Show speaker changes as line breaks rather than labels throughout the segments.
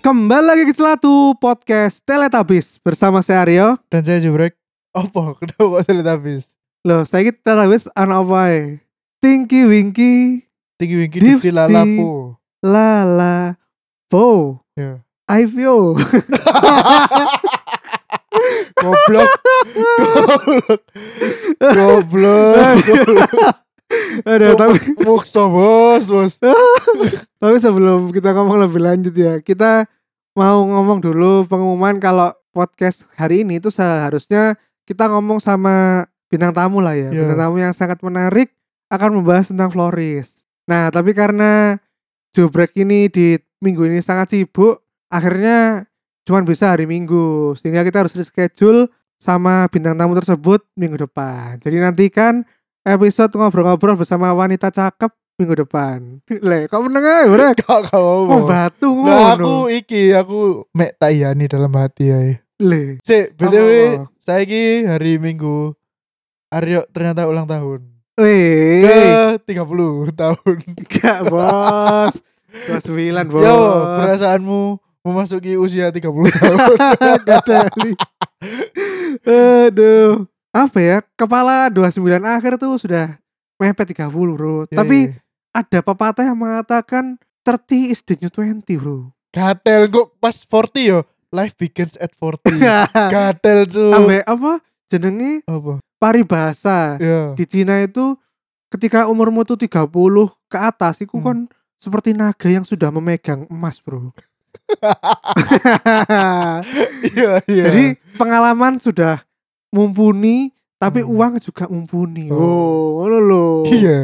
Kembali lagi ke Celatu Podcast Teletabis bersama saya Aryo.
Dan saya jubrek. Apa? Kenapa teletabis?
Loh, saya ini Teletabis anak apa ya? Tinky Winky
Tinggi wingi
Dipsi.
di lalapo.
Lala Bo
Ya.
Ivio.
Goblok. Goblok. Goblok. Goblok.
Aduh, tapi
Mukso bos, bos.
Eh, tapi sebelum kita ngomong lebih lanjut ya, kita mau ngomong dulu pengumuman kalau podcast hari ini itu seharusnya kita ngomong sama bintang tamu lah ya,
Ya.
bintang tamu yang sangat menarik akan membahas tentang florist. Nah, tapi karena Jobrek ini di minggu ini sangat sibuk, akhirnya cuman bisa hari Minggu. Sehingga kita harus reschedule sama bintang tamu tersebut minggu depan. Jadi nantikan episode ngobrol-ngobrol bersama wanita cakep minggu depan. Le, kok meneng ae, Brek?
Kau kau
Oh,
mau.
batu ngono.
Nah, aku iki aku mek tayani dalam hati ya.
Le.
Si, btw,
Apa?
saya iki hari Minggu. Aryo ternyata ulang tahun.
Weh,
Ke 30 tahun.
gak bos. 29 bos.
Ya, Wo, perasaanmu memasuki usia 30 tahun.
Gadali. Aduh. Apa ya? Kepala 29 akhir tuh sudah mepet 30, Bro.
Ya,
Tapi
ya.
ada pepatah yang mengatakan 30 is the new 20, Bro.
Gatel kok pas 40 yo. Life begins at 40.
Ambe
Gatel tuh.
apa? Jenenge
Apa?
paribasa.
Ya.
Di Cina itu ketika umurmu tuh 30 ke atas iku
Hmm.
kon seperti naga yang sudah memegang emas, Bro.
Iya, iya.
Jadi pengalaman sudah mumpuni tapi
Hmm.
uang juga mumpuni. Oh,
Oh.
ngono lho.
iya.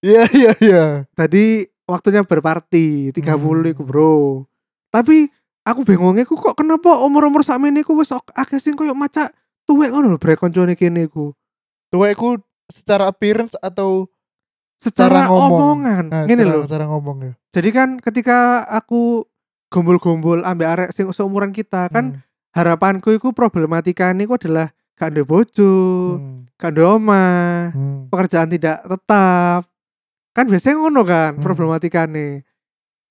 Iya, iya, iya.
Tadi waktunya berparti 30
Hmm.
iku, Bro. Tapi aku bingungnya ku kok kenapa umur-umur sakmene ku wis ak- akeh sing koyo maca tuwek ngono lho brek koncone kene iku.
Tuwekku secara appearance atau
Secara
Cara ngomong.
omongan,
nah,
ngene
cara,
lho.
cara ngomong ya.
Jadi kan ketika aku gombol-gombol ambek arek sing seumuran kita
Hmm.
kan harapanku iku problematikane iku adalah gak ndek bojo,
Hmm,
gak ndek omah.
hmm, hmm.
pekerjaan tidak tetap kan biasanya ngono kan
Hmm.
problematika nih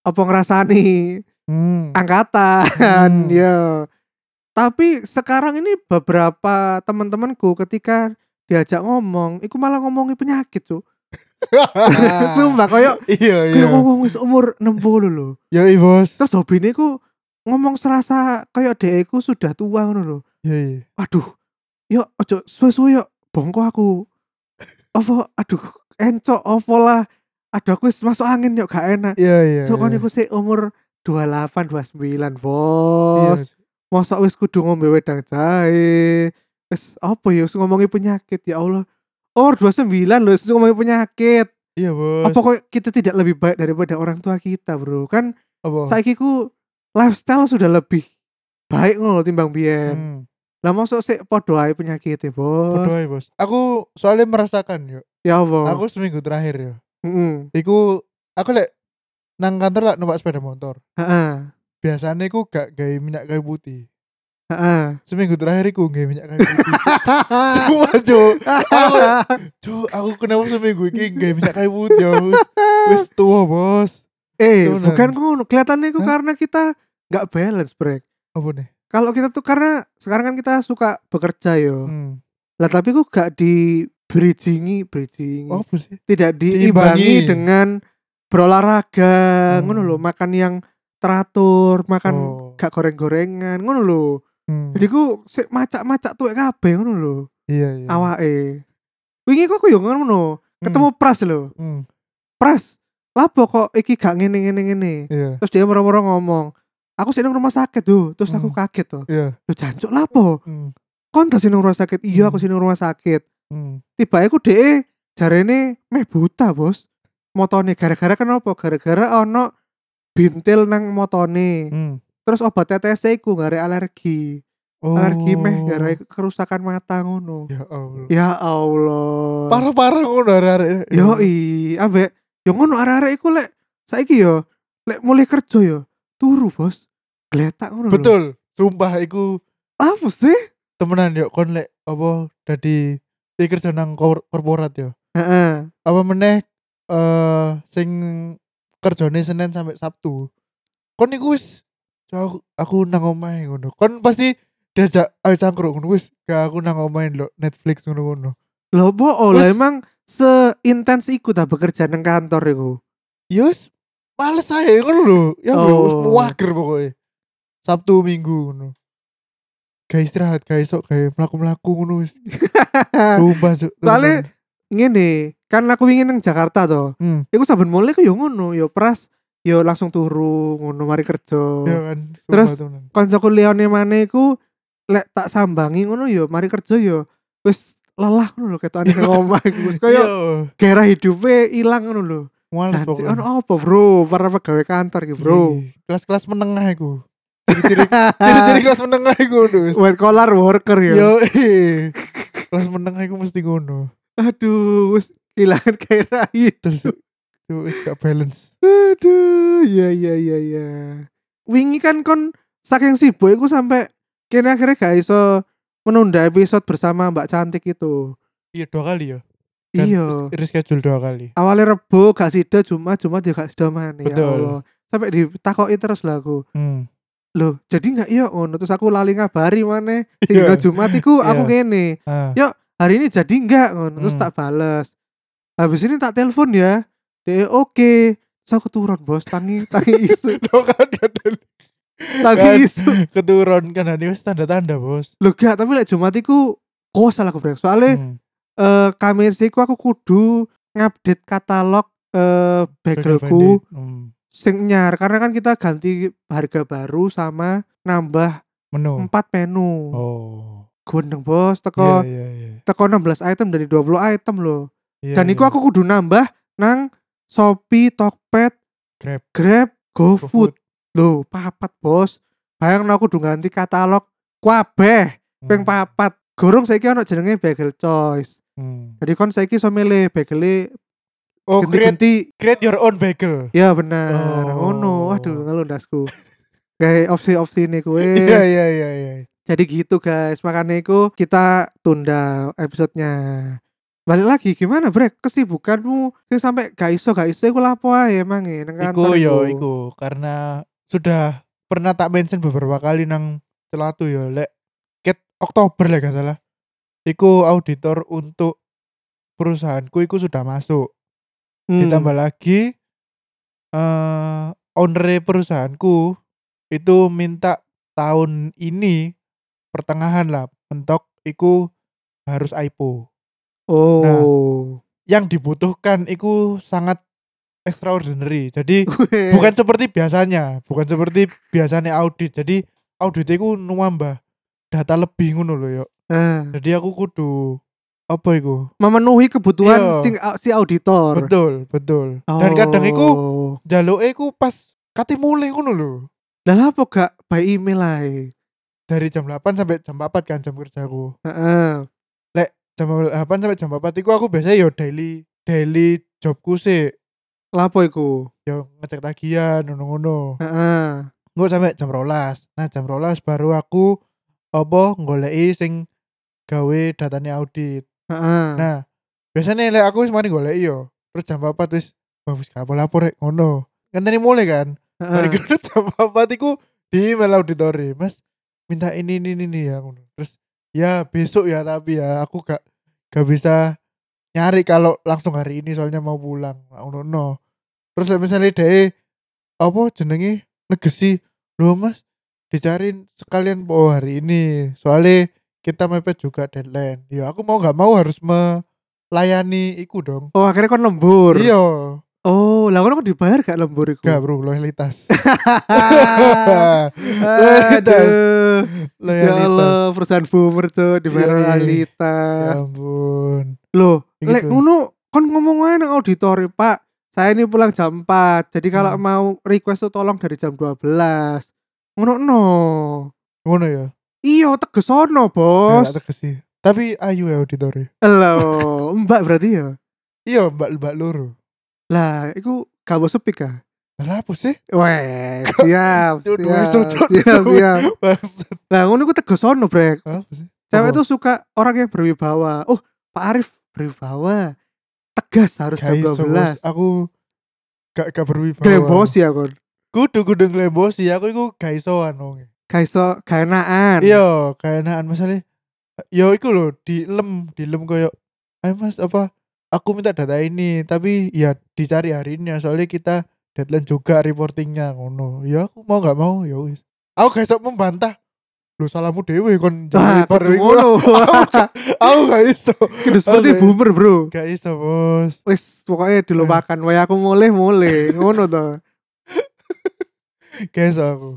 apa ngerasani
Hmm.
Ah, angkatan
Hmm.
ya tapi sekarang ini beberapa teman-temanku ketika diajak ngomong iku malah ngomongi penyakit tuh sumpah koyo
Ah, Iya, iya.
koyo ngomong wis umur 60 lho
Yo, iya, bos.
terus hobine ku ngomong serasa koyo deku sudah tua ngono lho
Iya, iya.
aduh yuk ojo suwe-suwe yuk bongko aku apa aduh encok apa lah aduh aku wis masuk angin yuk gak enak
Iya, iya.
so kan
iya.
iku sik umur 28 29
Iya,
bos mosok wis kudu ngombe wedang jahe wis apa ya wis ngomongi penyakit ya Allah Oh 29 loh wis ngomongi penyakit
Iya, bos.
Apa kok kita tidak lebih baik daripada orang tua kita bro Kan
Apa?
saiki ku lifestyle sudah lebih baik ngono timbang biyen
Hmm.
lah masuk sih podo ae penyakitnya bos.
Bodoh ae, bos. Aku soalnya merasakan yo.
Ya Allah.
Aku seminggu terakhir yo.
Heeh.
Iku aku lek nang kantor lek numpak sepeda motor.
Heeh.
Biasanya aku gak gawe minyak kayu putih.
Heeh.
Seminggu terakhir aku gawe minyak kayu putih. Cuma cuk, aku, cuk, aku kenapa seminggu ini gawe minyak kayu putih? ya, Bos? Wis tua bos.
Eh,
Temenan.
bukan ngono. Kelihatannya itu
Hah?
karena kita nggak balance, Brek.
Apa nih?
Kalau kita tuh karena sekarang kan kita suka bekerja yo.
Hmm.
Lah tapi kok gak di bridgingi, bridgingi.
Apa sih?
Tidak diimbangi
Oh, Diimbangi.
dengan berolahraga,
Hmm.
ngono lho, makan yang teratur, makan
Oh.
gak goreng-gorengan, ngono lho.
Hmm.
Kan Jadi ku sik macak-macak tuwek kabeh ngono lho.
iya iya.
awake. Wingi kok aku yo ngono,
Hmm.
ketemu Pras lho.
Hmm.
Pras, lapo kok iki gak ngene ngene ngene.
Iya.
Terus dia merem-merem ngomong, aku sih nang rumah sakit tuh. Terus aku
Hmm.
kaget tuh.
Iya.
Lho jancuk lapo?
Hmm.
Kon tas nang rumah sakit. Iya aku
Hmm.
sih nang rumah sakit.
Hmm.
Tiba aku dhek jarene meh buta, Bos. Motone gara-gara kenapa? Gara-gara ono bintil nang motone.
Hmm.
Terus obat tetes E iku gara alergi.
Oh.
Alergi meh gara kerusakan mata ngono.
Ya Allah.
Ya Allah.
Parah-parah ngono arek-arek. Ya.
Yo i, ambek yo ngono arek-arek iku lek saiki yo lek mulai kerja yo turu bos. Gletak ngono. lho.
Betul. Sumpah iku
Apa sih?
temenan yo kon lek apa dadi di kerja nang kor- korporat ya. yo.
Heeh.
apa meneh eh sing kerjane Senin sampai Sabtu. Kon niku wis Cok, aku nang omahe ngono. Kon pasti diajak ayo cangkruk ngono wis gak aku nang omahe lo Netflix ngono ngono.
Lho apa
Wes.
lah emang seintens iku ta bekerja nang kantor iku.
Yus, Ya males aja ngono lho. Ya
Oh.
wis muager pokoknya. Sabtu Minggu ngono. Gak istirahat, gak esok, gak melaku-melaku ngono wis. Sumpah, Cuk.
Nah, Soalnya- Ngene, kan aku ingin nang Jakarta to.
Hmm.
Iku saben mulai ku yo ngono, yo pras yo langsung turu ngono mari kerja.
ya kan. Sumpah,
Oh. Terus-
temenan.
Kancaku liyane maneh iku lek tak sambangi ngono yo mari kerja yo wis lelah ngono lho ketane nang omah iku wis
Yo,
koyo gairah hidupe ilang ngono lho.
males
Nanti
pokoknya.
ono apa bro para pegawai kantor iki bro.
Iya, kelas-kelas menengah iku. Ciri-ciri
Ah.
ciri-ciri kelas menengah iku ngono wis.
White collar worker ya.
Yo, eh. kelas menengah iku mesti ngono.
Aduh, wis kehilangan gairah hidup.
Terus Cuk, wis gak balance.
Aduh, ya ya ya ya. Wingi kan kon saking sibuk iku sampai kene akhirnya gak iso menunda episode bersama Mbak Cantik itu.
Iya, dua kali ya. Kan
Iya.
Reschedule dua kali.
Awalnya Rebo gak sida Jumat, Jumat ya gak sida maneh ya
Betul.
Allah. Sampai ditakoki terus lah aku.
Hmm.
Loh, jadi gak iya ngono terus aku lali ngabari maneh. Sing dina
Iya.
Jumat iku aku
Iya.
ngene.
Ah.
hari ini jadi enggak ngono terus
Hmm.
tak bales habis ini tak telepon ya dia oke terus aku turun bos tangi tangi isu
Loh, kan kadang
tangi
Kan.
isu
keturun kan ini wis tanda-tanda, Bos.
lho gak tapi lek Jumat iku kosal aku brek soalnya
Hmm.
eh kamis iku aku kudu ngupdate katalog eh bagelku
Bandit. Hmm.
sing nyar karena kan kita ganti harga baru sama nambah
Menu.
empat menu
Oh.
gondeng bos
Iya,
teko
iya, iya.
teko 16 item dari 20 item loh
Iya,
Dan
iya.
iku aku kudu nambah nang Shopee, Tokped,
Grab.
Grab,
GoFood.
GoFood. Loh, papat, Bos. Bayangno aku kudu ganti katalog kabeh ping
Hmm.
papat. Gorong saiki ono jenenge Bagel Choice.
Hmm.
Jadi kon saiki iso milih bagele
Oh, create
ganti-ganti.
create your own bagel.
Ya bener.
Oh.
Ngono. Waduh, ngeluh ndasku. Kayak opsi-opsi ini kue.
Iya, iya, iya, iya.
Jadi gitu guys, makanya itu kita tunda episodenya. Balik lagi gimana Brek? Kesibukanmu sing sampai gak iso gak iso iku lapo ae emang e nang
Iku
kantor.
yo iku karena sudah pernah tak mention beberapa kali nang celatu yo lek ket Oktober lek gak salah. Iku auditor untuk perusahaanku iku sudah masuk.
Hmm.
Ditambah lagi eh owner perusahaanku itu minta tahun ini pertengahan lah mentok iku harus IPO.
Oh.
Nah. Yang dibutuhkan iku sangat extraordinary. Jadi bukan seperti biasanya bukan seperti biasanya audit jadi audit itu nambah data lebih ngono lho yo
Nah,
jadi aku kudu apa iku
memenuhi kebutuhan
Iya.
sing a- si auditor.
betul betul dan
Oh.
kadang iku jalo iku pas kate mulai ngono lho
Lah lah apa gak by email ae.
dari jam 8 sampai jam 4 kan jam kerjaku
Heeh.
jam 8 sampai jam 4 iku aku biasanya yo daily daily jobku sih
Lapo iku?
yo ngecek tagihan ngono-ngono
Heeh.
Gue sampai jam rolas. Nah jam rolas baru aku apa goleki sing gawe datanya audit.
Heeh.
Nah biasanya lek aku wis mari goleki yo. Terus jam papat wis bagus gak lapor rek ngono. Kan tadi mulai kan.
Heeh.
Mari ngono jam papat iku di email auditori. Mas minta ini ini ini, ini ya ngono. Terus ya besok ya tapi ya aku gak gak bisa nyari kalau langsung hari ini soalnya mau pulang. Nah, ngono no. Terus lek misalnya deh apa jenenge negesi loh mas dicariin sekalian po hari ini soalnya kita mepet juga deadline ya aku mau nggak mau harus melayani iku dong
Oh, akhirnya kon lembur.
iya
Oh, lah kon dibayar gak lembur iku?
gak bro loyalitas Loyalitas.
Aduh. Ya
loyalitas
Allah, perusahaan boomer tuh di
Yoi.
mana
ya
realitas.
ampun
Loh,
Gitu.
lek ngono kon ngomong aja nang auditori, Pak. Saya ini pulang jam 4. Jadi kalau
Hmm.
mau request tuh tolong dari jam 12. Ngono no.
ngono ya
Iya, teges ono,
gak
Bos.
tegesi tapi ayu ya auditori
Loh, Mbak berarti ya.
iya mbak mbak loro
Lah, iku gak mau sepi kah?
lah apa sih
Weh, siap,
Cuk, duwe
siap,
sudut,
siap,
duwe.
siap.
maksud
Lah, ngono iku teges ono, Brek.
apa sih
Cewek
Apa?
tuh suka orang yang berwibawa. Oh, Pak Arif berwibawa. Tegas harus jam
Guys,
12.
aku gak gak berwibawa
Gak yang bos ya kon.
kudu kudu ngelembosi aku iku gak iso anu
Gak iso gak enakan.
iya keenaan masalah yo iku lho dilem dilem koyo ayo mas apa aku minta data ini tapi ya dicari hari ini ya, soalnya kita deadline juga reportingnya ngono ya aku mau nggak mau ya wis aku gak iso membantah lu salahmu dewe kon
Wah,
report
kudu
iku.
ngono.
aku gak iso
Kudu seperti
Oke. Eh.
boomer, Bro.
gak iso bos
Wis pokoknya dilupakan. Waya aku mulai mulai ngono to.
gak iso aku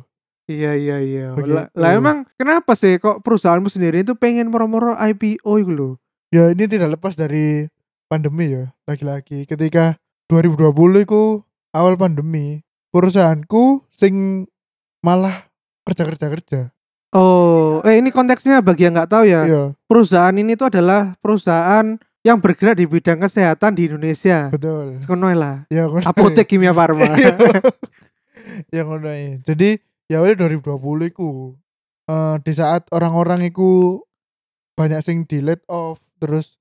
Iya iya iya.
Begitu.
Lah, lah emang kenapa sih kok perusahaanmu sendiri itu pengen moro-moro IPO itu loh?
ya ini tidak lepas dari pandemi ya lagi-lagi ketika 2020 itu awal pandemi perusahaanku sing malah kerja kerja kerja
Oh, eh ini konteksnya bagi yang nggak tahu ya.
iya
Perusahaan ini tuh adalah perusahaan yang bergerak di bidang kesehatan di Indonesia.
betul
Sekonoy lah.
ya ngono
Apotek Kimia Farma.
Iya. ya ngono ae. jadi ya oleh 2020 iku eh, di saat orang-orang iku banyak sing di let off terus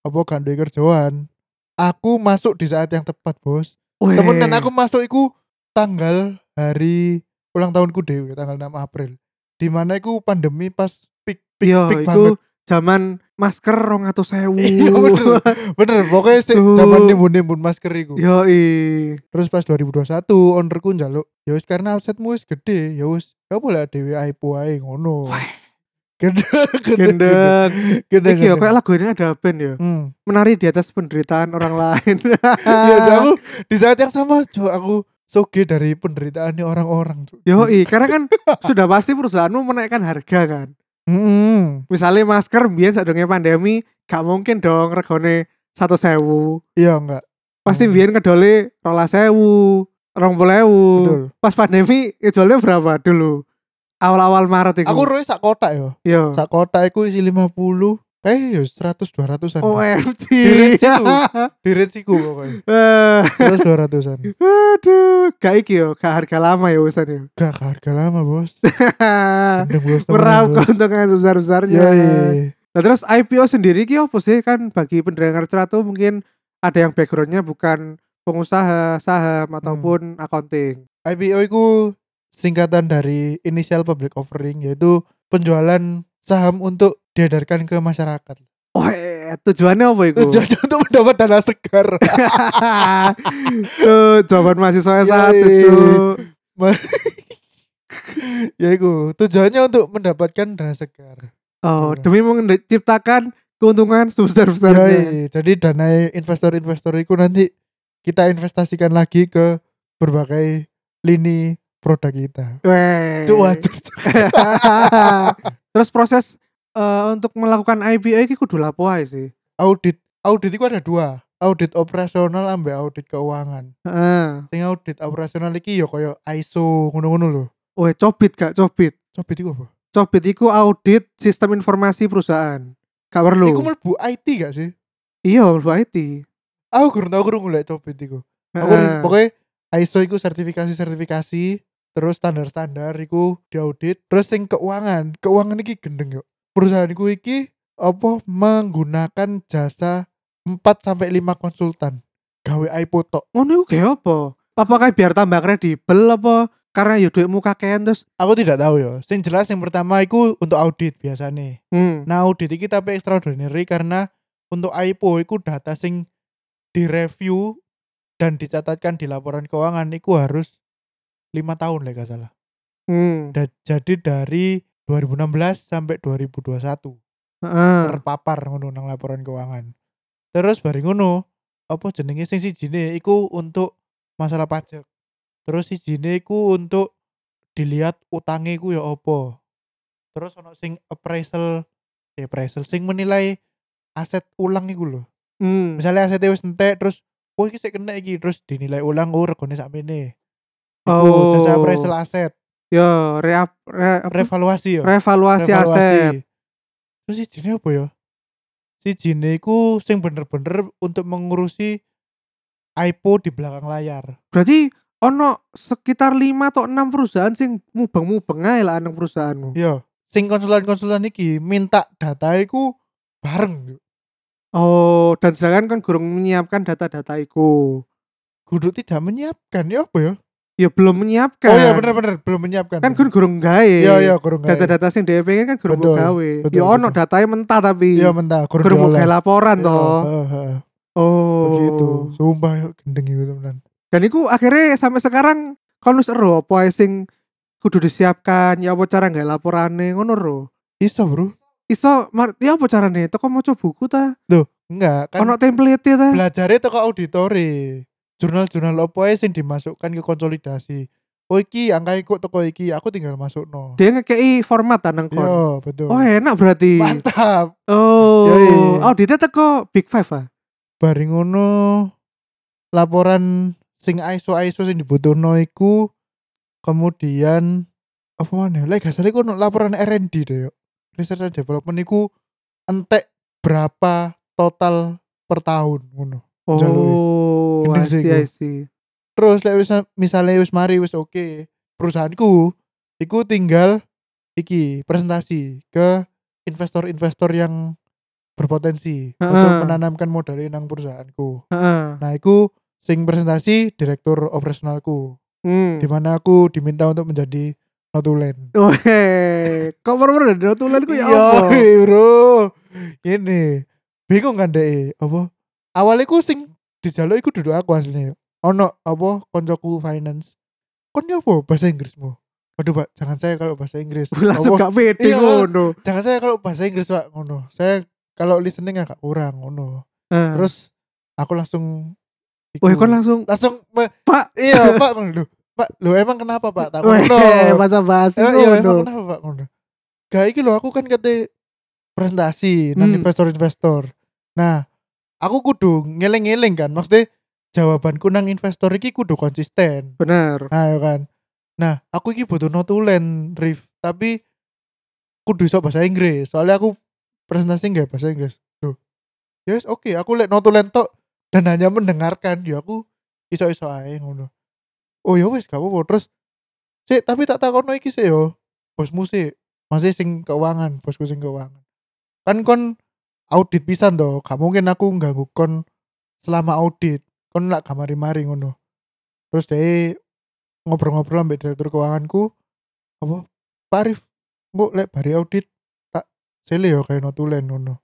apa gak duwe kerjaan aku masuk di saat yang tepat bos
Weh.
temenan aku masuk iku tanggal hari ulang tahunku dewe tanggal 6 April di mana iku pandemi pas peak peak,
Iya,
peak
itu
banget
zaman masker rong atau sewu.
Iya, bener. bener pokoknya sih
Tuh.
zaman nimbun nimbun masker iku
Yo
terus pas 2021 ownerku njaluk ya wis karena offsetmu wis gede ya wis gak boleh dewe aipu ae ngono gede gede
gendeng.
gede
Iki ya kayak lagu ini ada band ya.
Hmm.
Menari di atas penderitaan orang lain. Ah.
Iya, jadi aku di saat yang sama Cuk, aku soge dari penderitaan nih orang-orang Cuk.
Yoi, karena kan sudah pasti perusahaanmu menaikkan harga kan.
Mm-mm.
Misalnya masker biar sadurunge pandemi gak mungkin dong regane satu sewu.
iya enggak
Pasti
Hmm.
biar kedole rola sewu, rong puluh ewu.
betul
Pas pandemi jualnya berapa dulu? Awal-awal Maret itu.
Aku roe sak kotak yo.
yo.
Sak kotak iku isi eh, 50. Kayak yo 100 200-an.
OMG.
Direct itu. Di range iku pokoknya.
Eh,
Terus 200-an.
Aduh, gak iki yo, gak harga lama ya urusan yo.
Gak harga lama, Bos. Bener, Bos. temenan,
Meraup
Bos. Iya,
keuntungan sebesar-besarnya.
Yoi.
Nah terus IPO sendiri ki apa sih kan bagi pendengar cerita tuh mungkin ada yang backgroundnya bukan pengusaha
Hmm.
saham ataupun accounting.
IPO iku singkatan dari initial public offering yaitu penjualan saham untuk diedarkan ke masyarakat.
Oh eh, tujuannya apa itu?
Tujuannya untuk mendapat dana segar.
tuh jawaban mahasiswa
Iya,
saat
Yoi.
itu.
ya iku, tujuannya untuk mendapatkan dana segar.
Oh
Bener.
demi menciptakan keuntungan sebesar besarnya.
Yoi, Iya, jadi dana investor-investor itu nanti kita investasikan lagi ke berbagai lini produk kita.
Weh.
Cuk, wajar, cuk.
terus proses eh, untuk melakukan IPO ini kudu lapo ae sih.
audit, audit itu ada dua, audit operasional ambek audit keuangan.
Heeh.
Sing audit operasional iki ya koyo ISO ngono-ngono lho.
Weh, cobit gak cobit.
Coba iku apa?
Cobit iku audit sistem informasi perusahaan. Gak perlu.
Iku mlebu IT gak sih?
iya, mlebu IT.
Aku kurang tau kurang golek cobit iku. Aku
Heeh.
pokoknya ISO iku sertifikasi-sertifikasi, terus standar-standar iku diaudit, terus sing keuangan. Keuangan iki gendeng yo. Perusahaanku iki apa menggunakan jasa 4 sampai 5 konsultan gawe IPO tok.
ngono iku kayak apa? Apakah biar tambah kredibel apa karena ya duitmu kakean terus
Aku tidak tahu ya. Sing jelas yang pertama iku untuk audit biasanya.
hmm.
Nah, audit iki tapi extraordinary karena untuk IPO iku data sing direview dan dicatatkan di laporan keuangan iku harus lima tahun lah gak salah.
Hmm.
Da- jadi dari 2016 sampai 2021
Heeh.
terpapar ngono nang laporan keuangan. Terus bari ngono, apa jenenge sing sijine iku untuk masalah pajak. Terus sijine iku untuk dilihat utange iku ya apa. Terus ono sing appraisal, eh, appraisal sing menilai aset ulang iku lho.
Hmm.
Misalnya aset wis entek terus oh iki sik kena iki terus dinilai ulang oh regane sakmene. Iku
Oh.
jasa appraisal aset,
Yo, reap, re, apa?
revaluasi ya.
revaluasi aset.
Terus sijine apa ya? Sijine iku sing bener-bener untuk mengurusi IPO di belakang layar.
Berarti ono sekitar 5 atau 6 perusahaan sing mubeng-mubeng ae lah nang perusahaanmu.
Iya, sing konsulan-konsulan iki minta data iku bareng. Cuk.
Oh, dan sedangkan kan gurung menyiapkan data-data iku.
Kudu tidak menyiapkan ya apa ya?
ya belum menyiapkan
oh iya bener-bener belum menyiapkan
kan gue gurung gawe
iya iya kurang gawe.
data-data sing dhewe pengen kan gurung mau
Betul,
gawe
betul,
ya ono
betul.
datanya mentah tapi
iya mentah kurang
gurung mau
diolah.
gawe laporan
Iya,
toh
heeh, heeh.
oh
begitu sumpah yuk gendeng itu temenan
dan itu akhirnya sampai sekarang kon wis ero apa ae sing kudu disiapkan ya apa cara nggak laporane ngono ro
iso bro
iso mar- ya apa carane toko maca buku ta
enggak kan
ono template ta
belajarnya toko auditori jurnal-jurnal opo ae sing dimasukkan ke konsolidasi oh iki angka ikut toko iki aku tinggal masuk no
dia ngekei format ta nang kon
iya betul
oh enak berarti
mantap iya.
oh
Yoi.
auditnya teko big five ah
bari ngono laporan sing ISO ISO sing dibutuhno iku kemudian apa mana lek gak salah iku ono laporan R&D deh yuk research and development iku entek berapa total per tahun ngono
oh
Gendeng
I
iya. sih
see
iku.
I see
terus lek wis misalnya wis mari wis oke perusahaanku iku tinggal iki presentasi ke investor-investor yang berpotensi
Heeh.
untuk menanamkan modal nang perusahaanku.
Heeh.
Nah, iku sing presentasi direktur operasionalku,
Hmm.
di mana aku diminta untuk menjadi notulen.
Oh, hei. Kok baru-baru ada tulen ku ya
Iya,
apa?
bro. Ini bingung kan deh, apa? Awalnya ku sing dijaluk iku duduk aku aslinya. Ono apa koncoku finance. Kon ya apa bahasa Inggrismu? Waduh, Pak, jangan saya kalau bahasa Inggris.
Langsung
Apa?
gak pede
Iya.
ngono.
Jangan saya kalau bahasa Inggris, Pak, ngono. Saya kalau listening agak kurang ngono.
Terus,
Terus aku langsung iku.
wah Ah. kon langsung
langsung me-
Pak.
iya pak ngono lho pak lo emang kenapa pak tak ngono
Weh, masa basi
Eh, iya emang
ngono.
kenapa pak ngono gak iki lho aku kan kate presentasi nang
Hmm.
investor-investor nah aku kudu ngeleng-ngeleng kan maksudnya jawabanku nang investor iki kudu konsisten
Bener.
nah ya kan nah aku iki butuh notulen Rif tapi kudu iso bahasa Inggris soalnya aku presentasi nggak bahasa Inggris Loh yes oke aku lek notulen tok dan hanya mendengarkan ya aku iso iso ae ngono oh ya wes gak apa-apa terus sik tapi tak takono iki sih yo bosmu sih masih sing keuangan bosku sing keuangan kan kon audit pisan toh gak mungkin aku ngganggu kon selama audit kon lak kamari mari ngono terus deh ngobrol-ngobrol ambek direktur keuanganku apa Pak Arif mbok lek bari audit tak sele yo kayak notulen ngono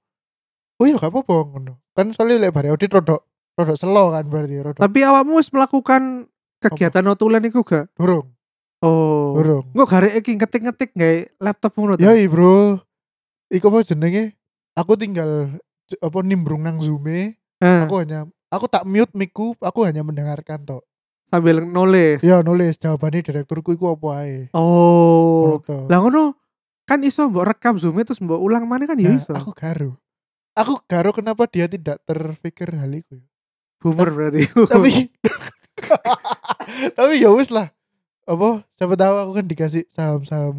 oh iya gak apa-apa ngono kan soalnya lek bari audit rodok rodok selo kan berarti rodok
Tapi awakmu wis melakukan kegiatan notulen iku gak?
burung
Oh.
burung
Engko garek iki ngetik-ngetik gak laptop ngono
Ya
ta?
iya, bro. Iku apa jenenge? Aku tinggal j- apa nimbrung nang zoome.
Nah,
Aku hanya aku tak mute miku, aku hanya mendengarkan tok.
sambil nulis.
Ya nulis jawabannya direkturku iku apa ae.
Oh.
Ngono tok.
Lah ngono kan iso mbok rekam zoom e terus mbok ulang mana kan ya
Nah,
iso.
aku garu. Aku garu kenapa dia tidak terpikir hal itu. ya.
Boomer berarti.
Tapi tapi ya wis lah. Apa siapa tahu aku kan dikasih saham-saham.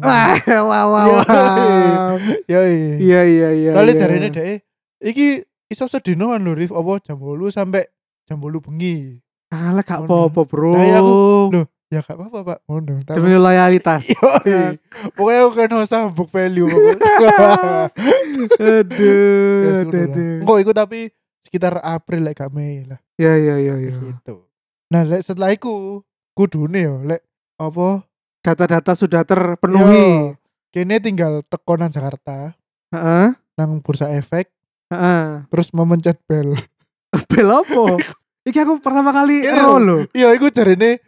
wah wah wah. wah.
Ya iya.
Ah! Iya iya iya.
Soalnya
iya.
jarine dhek iki iso sedinoan lho Rif apa jam 8 sampai jam 8 bengi.
Alah gak
Ngono.
apa-apa, Bro.
Nah, ya aku- Ya gak apa-apa Pak. Ngono. tak
Demi loyalitas.
apa-apa. Pokoknya aku kan usah book value. pokoknya. Ya,
aduh,
sudah
aduh.
lah.
aduh.
Engko iku tapi sekitar April lek gak Mei lah
Ya ya ya ya.
gitu. Nah, lek setelah iku kudune yo lek apa
Data-data sudah terpenuhi.
yo, Kene tinggal tekonan Jakarta
Heeh.
nang bursa efek
Heeh.
terus memencet bel.
Bel apa? Iki aku pertama kali
Iya.
ero lho.
Iya, iku jarine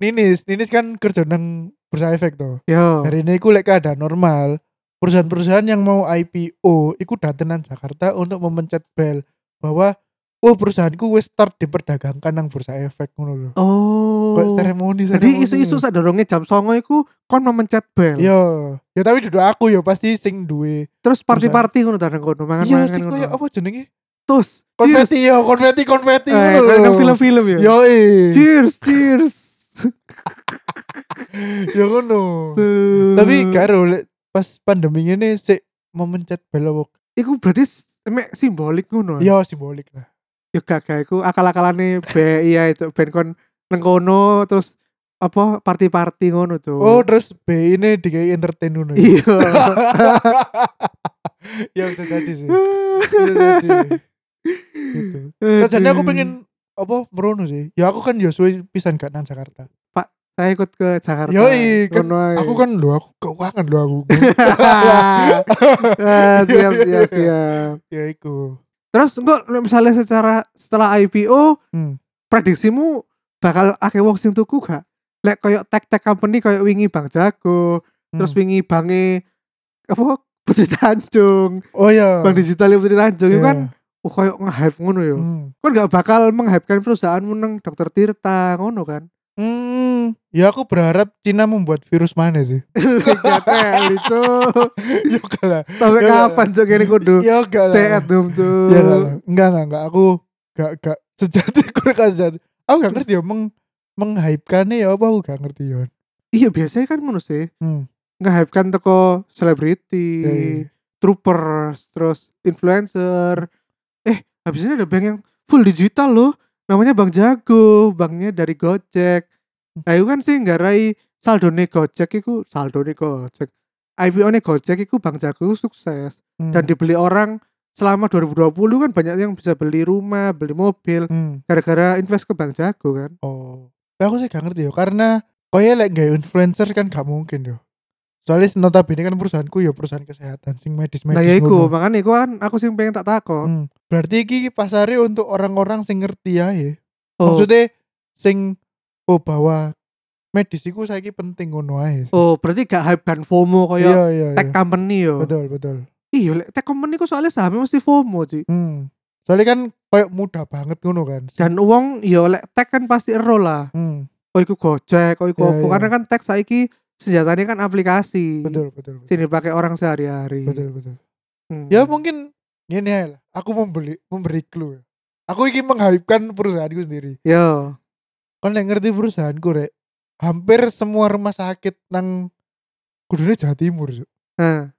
Ninis, Ninis kan kerja nang bursa efek toh.
Yo.
Hari ini iku lek keadaan normal, perusahaan-perusahaan yang mau IPO iku datenan Jakarta untuk memencet bel bahwa oh perusahaanku wis start diperdagangkan nang bursa efek ngono lho.
Oh.
Kayak gitu. seremoni
Jadi isu-isu sadorongnya jam songo iku kon memencet bel.
Yo, ya tapi duduk aku yo pasti sing duwe.
Terus party-party ngono ta nang kono,
Iya
mangan-mangan
sing koyo
kan ngono.
apa jenenge?
Tus. Cheers.
Konfeti yo, konfeti konfeti.
Eh,
ngono
kayak
lho.
nang film-film ya.
Yo, eh.
Cheers, cheers.
yo Ya, ngono. Tapi karo lek pas pandemi ini sik memencet bel apa?
Iku berarti s- emek simbolik ngono.
Yo simbolik lah.
Ya gak gak iku akal-akalane BI ya itu ben kon neng kono terus apa party-party ngono tuh.
Oh, terus B ini dikai entertain ngono.
iya.
ya bisa jadi sih bisa jadi gitu Terus jadi aku pengen apa merono sih ya aku kan ya suwe pisan gak nang Jakarta
saya ikut ke Jakarta.
Yoi, kan
Ngono ae.
Aku kan lo, aku keuangan lo aku.
Ah, siap, siap, siap.
ya iku.
Terus enggak misalnya secara setelah IPO
Hmm.
prediksimu bakal akeh wong sing tuku gak? Lek koyo tech tech company koyo wingi Bang Jago, terus
hmm.
wingi bange apa Putri Tanjung,
Oh ya.
Bang Digital Putri Tanjung itu
Iya.
kan oh, koyo nge-hype ngono yo.
Hmm.
Kan gak bakal menghypekan perusahaanmu nang Dokter Tirta ngono kan.
Hmm. Ya aku berharap Cina membuat virus mana sih?
Gak teli, Cuk.
ya kalah.
Sampai
Yo,
kapan Cuk ini kudu
Ya kalah.
stay at home Cuk.
Ya kalah. Enggak enggak enggak aku enggak enggak sejati kurang sejati. Aku enggak ngerti ya meng menghypekannya ya apa aku enggak ngerti ya.
Iya biasanya kan ngono sih.
Hmm.
nge-hype kan teko selebriti,
Ya, ya.
troopers, terus influencer. Eh, habis ini ada bank yang full digital loh. Namanya Bang Jago, banknya dari Gojek. Nah, itu kan sih nggarai saldone Gojek iku saldone Gojek. IPO-ne Gojek iku Bang Jago sukses
Hmm.
dan dibeli orang selama 2020 kan banyak yang bisa beli rumah, beli mobil
Hmm.
gara-gara invest ke Bang Jago kan.
Oh, Lah, aku sih gak ngerti ya karena koyo lek gak influencer kan gak mungkin yo. Soalnya notabene kan perusahaanku ya perusahaan kesehatan sing medis-medis.
Nah, ya iku,
ngono.
makanya iku kan aku sing pengen tak takon.
Hmm. Berarti iki pasare untuk orang-orang sing ngerti ya.
Oh,
Maksudnya sing oh bahwa medis iku saiki penting ngono ae.
oh, berarti gak hype dan FOMO kayak
iya iya.
tech
iya.
company yo.
Betul betul.
Iya, lek tech company kok soalnya sahamnya mesti FOMO sih.
Hmm. Soalnya kan koyo mudah banget ngono kan.
Dan uang yo lek tech kan pasti ero lah.
Hmm.
Kok iku Gojek, kok iku
Iya,
Oppo.
iya.
karena kan tech saiki senjatanya kan aplikasi.
Betul betul. Betul
Sini pakai orang sehari-hari.
betul. betul.
Hmm.
Ya mungkin gini ae lah. Aku membeli memberi clue. Aku ingin menghypekan perusahaanku sendiri.
Yo.
kan yang ngerti perusahaanku rek hampir semua rumah sakit nang kudune Jawa Timur Cuk.
Nah.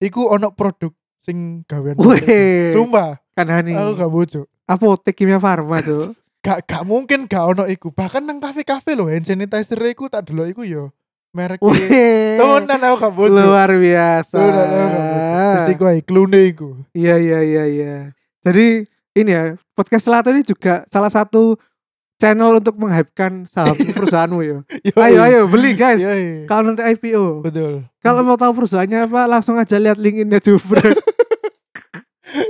iku ono produk sing gawean
Weh.
Sumpah,
Kan hani.
aku gak bocok
Apotek kimia farma tuh.
gak gak mungkin gak ono iku bahkan nang kafe-kafe lho hand sanitizer iku tak delok iku yo merek
Wih.
temenan Iya. aku gak bocok
Luar biasa.
Temenan, aku gak bocok. Terus iku ae clue-ne iku
Iya iya iya iya. Jadi ini ya podcast Selatan ini juga salah satu channel untuk menghypekan saham perusahaanmu yo.
Yo,
Ayo ayo beli guys.
yo,
Kalau nanti IPO.
iya. betul
Kalau mau tahu perusahaannya apa, langsung aja lihat LinkedIn-nya Jufre.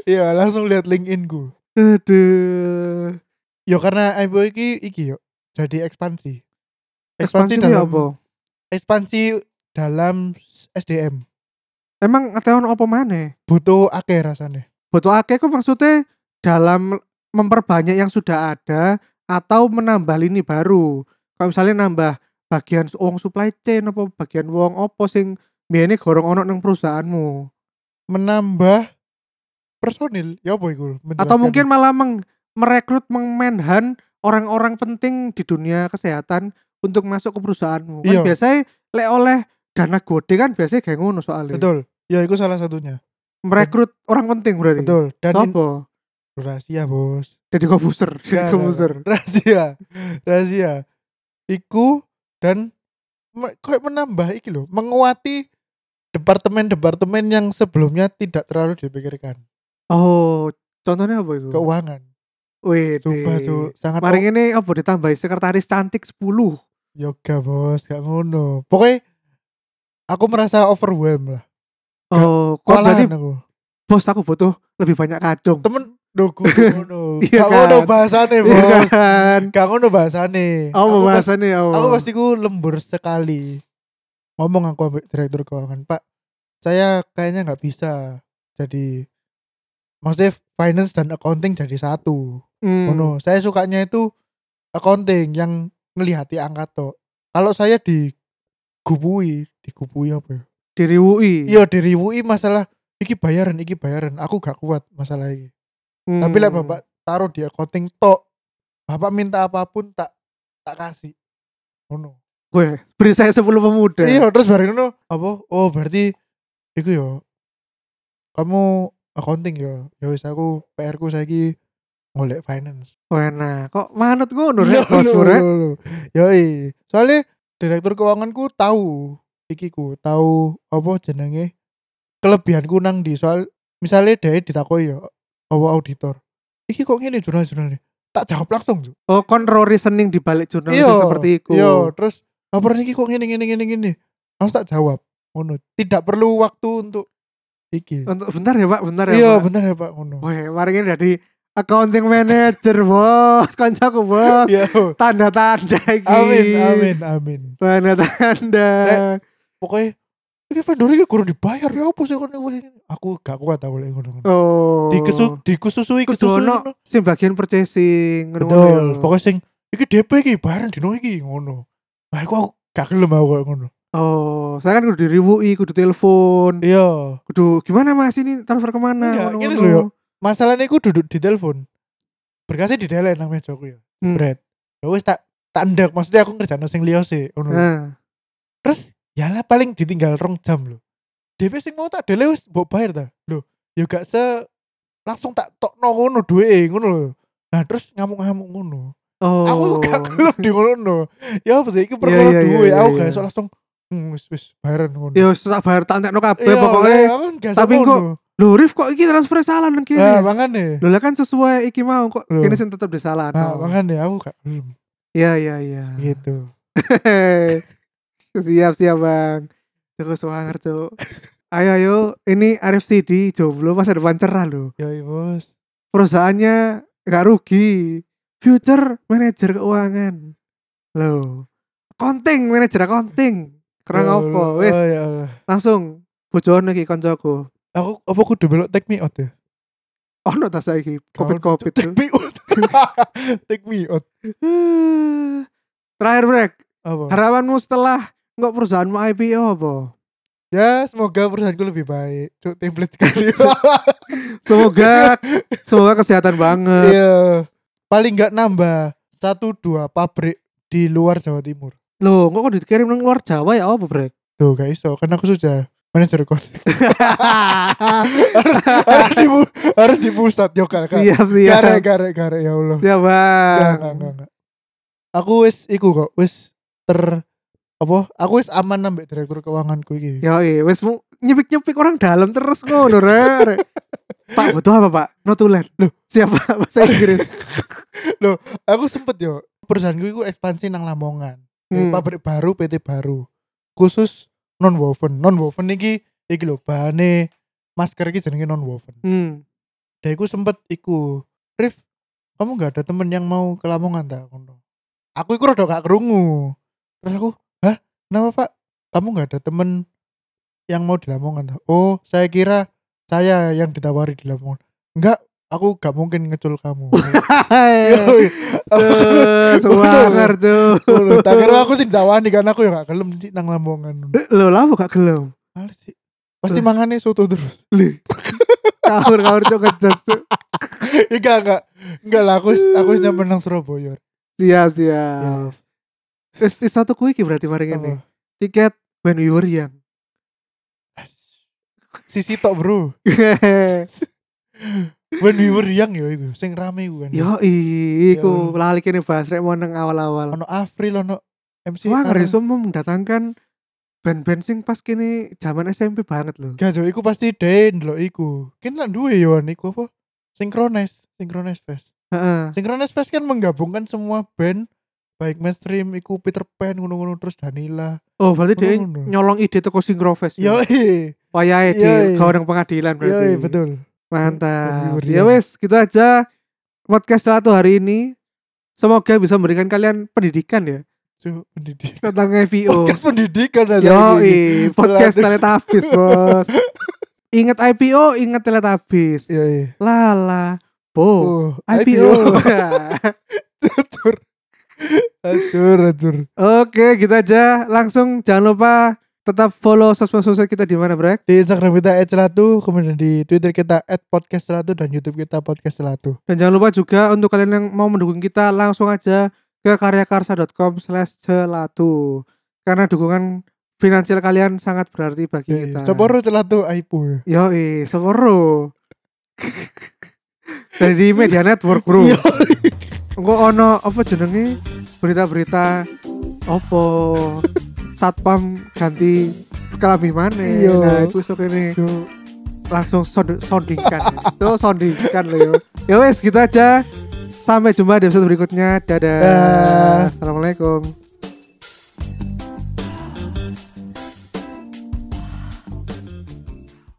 iya langsung lihat LinkedIn ku
Aduh.
yo karena ibu iki iki yo jadi ekspansi
Ekspansi ini apa?
ekspansi dalam SDM
Emang ngeteon apa mana?
butuh akeh rasanya
Butuh akeh kok maksudnya dalam memperbanyak yang sudah ada atau menambah lini baru. Kalau misalnya nambah bagian wong supply chain apa bagian wong opo sing biasanya gorong ono nang perusahaanmu
menambah personil ya apa iku menjelaskan.
atau mungkin malah meng- merekrut mengmenhan orang-orang penting di dunia kesehatan untuk masuk ke perusahaanmu kan
Iya.
biasanya lek oleh dana gode kan biasanya kayak ngono soalnya
betul ya itu salah satunya
merekrut orang penting berarti
betul dan Iya, in-
Sopo?
rahasia bos
Deddy Kobuser Deddy
Gak,
Kobuser
rahasia rahasia iku dan me- kayak menambah iki loh menguati departemen-departemen yang sebelumnya tidak terlalu dipikirkan
oh contohnya apa itu
keuangan
wih
sumpah Cuk. sangat
Mari ini apa ditambahi sekretaris cantik 10
yoga bos gak ngono pokoknya aku merasa overwhelmed lah
Oh, kok berarti
Kewalahan aku
bos aku butuh lebih banyak kacung
temen doku ngono
Iya
gak ngono
kan?
bahasane
Iya
bos
kan
gak ngono bahasane
Oh,
aku, pas-
pembahasannya oh.
aku pasti ku lembur sekali ngomong aku ambil direktur keuangan pak saya kayaknya nggak bisa jadi maksudnya finance dan accounting jadi satu
Hmm.
ngono saya sukanya itu accounting yang ngelihati angka tok kalau saya digubui digubui apa ya
Diri UI
iya diriwui masalah iki bayaran iki bayaran aku gak kuat masalah ini
Hmm.
Tapi lah bapak taruh di accounting tok. Bapak minta apapun tak tak kasih. Ngono.
Weh, beri saya 10 pemuda.
Iya, terus bareng ngono apa? Oh, berarti iku yo. Kamu accounting yo. Ya wis aku PR ku saiki golek finance.
Oh, enak. Kok manut ngono
Yo,
rek bos
yo,
rek?
yo, yo. Yoi. Soalnya direktur keuanganku tahu ikiku, tahu apa jenenge kelebihanku nang di soal misalnya dia ditakoi yo apa auditor. Iki kok ngene jurnal-jurnalnya? Tak jawab langsung, Cuk.
Oh, kontrol reasoning di balik jurnal itu
Iya,
seperti itu.
Yo, terus laporan ini kok ngene ngene ngene ngene langsung tak jawab ngono tidak perlu waktu untuk iki
Untuk bentar ya Pak, bentar ya.
iya
Pak.
benar ya pak ngono
Weh, mari ini jadi accounting manager, Bos. Kancaku, Bos.
iya
Tanda-tanda iki.
amin amin amin
Tanda-tanda.
pokoknya ini vendor ini kurang dibayar ya apa sih kono wes ini?" aku gak kuat aku lagi ngono ngono.
Oh.
dikesu dikesusui
Kudu
kesusui
ono.
ngono.
sing bagian purchasing
betul
ya.
pokoknya sing iki DP iki bayaran dino iki ngono nah aku, aku gak gelem aku kayak ngono
Oh, saya kan kudu diriwui, kudu telepon,
iya
kudu gimana Mas ini transfer kemana?
Enggak,
Ngono-ngono.
gini loh, yo. masalahnya aku duduk di telepon berkasnya di delen nang meja aku ya
Hmm.
bread ya wes tak tandak maksudnya aku ngerjain sing liya sih ngono
Nah,
terus ya lah paling ditinggal rong jam loh DP sing mau tak dele wes mbok bayar ta lho ya gak se langsung tak tokno ngono duwe ngono lho nah terus ngamuk-ngamuk ngono
oh.
aku gak gelem di ngono ya apa sih itu
iya, iya,
perkara duwe
iya,
aku
iya.
gak iso langsung hmm, wis wis bayaran ngono
Ya sabar tak entekno kabeh
Iya,
pokoknya.
iya, aku gak iso
tapi
ngono.
Lho Rif kok iki transfer salah nang kene?
nah makane
Lho lah kan sesuai iki mau kok
Lho.
kene sing tetep disalahno.
nah makane aku gak gelem
Iya iya iya.
gitu
siap siap Bang. Cukup suwanger, Cuk. Ayo ayo, ini Arif CD jomblo masa depan cerah loh.
ya iya, bos
Perusahaannya nggak rugi. Future manager keuangan. Loh. Konting manajer konting. Keren
Ya
apa?
Allah,
Wis,
ya Allah.
langsung bojoan iki kancaku.
aku apa kudu belok take me out ya
Ono tas saiki
Kau-
covid-covid.
take me out take me out
Huh. Hmm. Terakhir break,
apa
harapanmu setelah nggak perusahaanmu IPO apa?
ya semoga perusahaanku lebih baik cuk template sekali
Semoga semoga kesehatan banget.
iya paling gak nambah satu dua pabrik di luar Jawa Timur
Loh, kok kok dikirim nang luar Jawa ya apa break?
Tuh gak iso karena aku sudah manajer konten. harus, harus di pu- harus di pusat yo kan. kan.
siap siap.
Gare gare gare ya Allah.
Siap
Enggak enggak
bang.
enggak, enggak. Aku wis iku kok wis ter apa? Aku wis aman nambah direktur keuanganku iki.
Yo wes mu nyepik nyepik orang dalam terus ngono Rek. Pak butuh apa pak? Notulen. Loh, siap pak bahasa Inggris.
Aku sempet yo perusahaanku iku ekspansi nang Lamongan. Jadi
Hmm.
Pabrik baru, PT baru. Khusus non woven. Non woven iki iki lho bahane masker iki jenenge non woven.
Hmm.
Dan aku sempet iku Rif kamu gak ada temen yang mau ke Lamongan tak ngono aku iku rada gak kerungu terus aku hah kenapa pak kamu gak ada temen yang mau di Lamongan tak oh saya kira saya yang ditawari di Lamongan enggak aku gak mungkin ngecul kamu
Iya,
Yoi.
Tuh, Semangat tuh.
Ngono. tak kira aku sih ditawani karena aku ya gak gelem sih nang Lamongan
Loh, lama gak gelem.
Males sih pasti mangannya soto terus
Lih. Sahur sahur cok ngejas. Cuk.
enggak enggak enggak lah aku aku wis nyaman nang Surabaya
Siap
Iya.
siap. Wis wis satu kuwi iki berarti mari
Apa?
ngene. Tiket when we were young.
sisi tok bro When we were young ya iku, sing rame iku kan.
Yo iku lali kene bahas rek mau nang awal-awal.
Ono April ono MC.
Wah,
Ara.
ngeri semua mendatangkan band-band sing pas kene zaman SMP banget loh.
Gak Jo, iku pasti den lho iku. Kan lan duwe yo an iku apa? Synchronize, Synchronize Fest.
Heeh.
Synchronize Fest kan menggabungkan semua band baik mainstream iku Peter Pan ngono-ngono terus Danila.
Oh, berarti dia
Ngono, ngono.
nyolong ide teko Singrofest.
Yo
wayahe Oh, iya, di
Yoi.
kawan pengadilan berarti.
Yo iya, betul.
Mantap.
Lebih meriah.
Ya wes, gitu aja podcast satu hari ini. Semoga bisa memberikan kalian pendidikan ya
Cuk, pendidikan.
tentang FVO.
Podcast pendidikan aja
Yo,
Iya, ini.
podcast
Selalu.
Teletubbies, Bos. Ingat IPO, ingat Teletubbies.
Yoi.
Lala. Bo,
Oh,
IPO.
Atur. Atur, atur.
Oke, gitu aja. Langsung jangan lupa tetap follow sosmed-sosmed kita di mana, Brek?
di Instagram kita @celatu, kemudian di Twitter kita @podcastcelatu dan YouTube kita podcastcelatu.
Dan jangan lupa juga untuk kalian yang mau mendukung kita langsung aja ke karyakarsa.com slash celatu. Karena dukungan finansial kalian sangat berarti bagi kita.
Seporo Gitu. celatu aipu.
Yoi, seporo. Dari di media network, Bro.
Iya.
Engko ono apa jenenge berita-berita opo satpam ganti kelamin mana
Iya.
nah itu sok ini langsung sond sondingkan itu sondingkan loh yo ya wes gitu aja sampai jumpa di episode berikutnya dadah
Dah.
assalamualaikum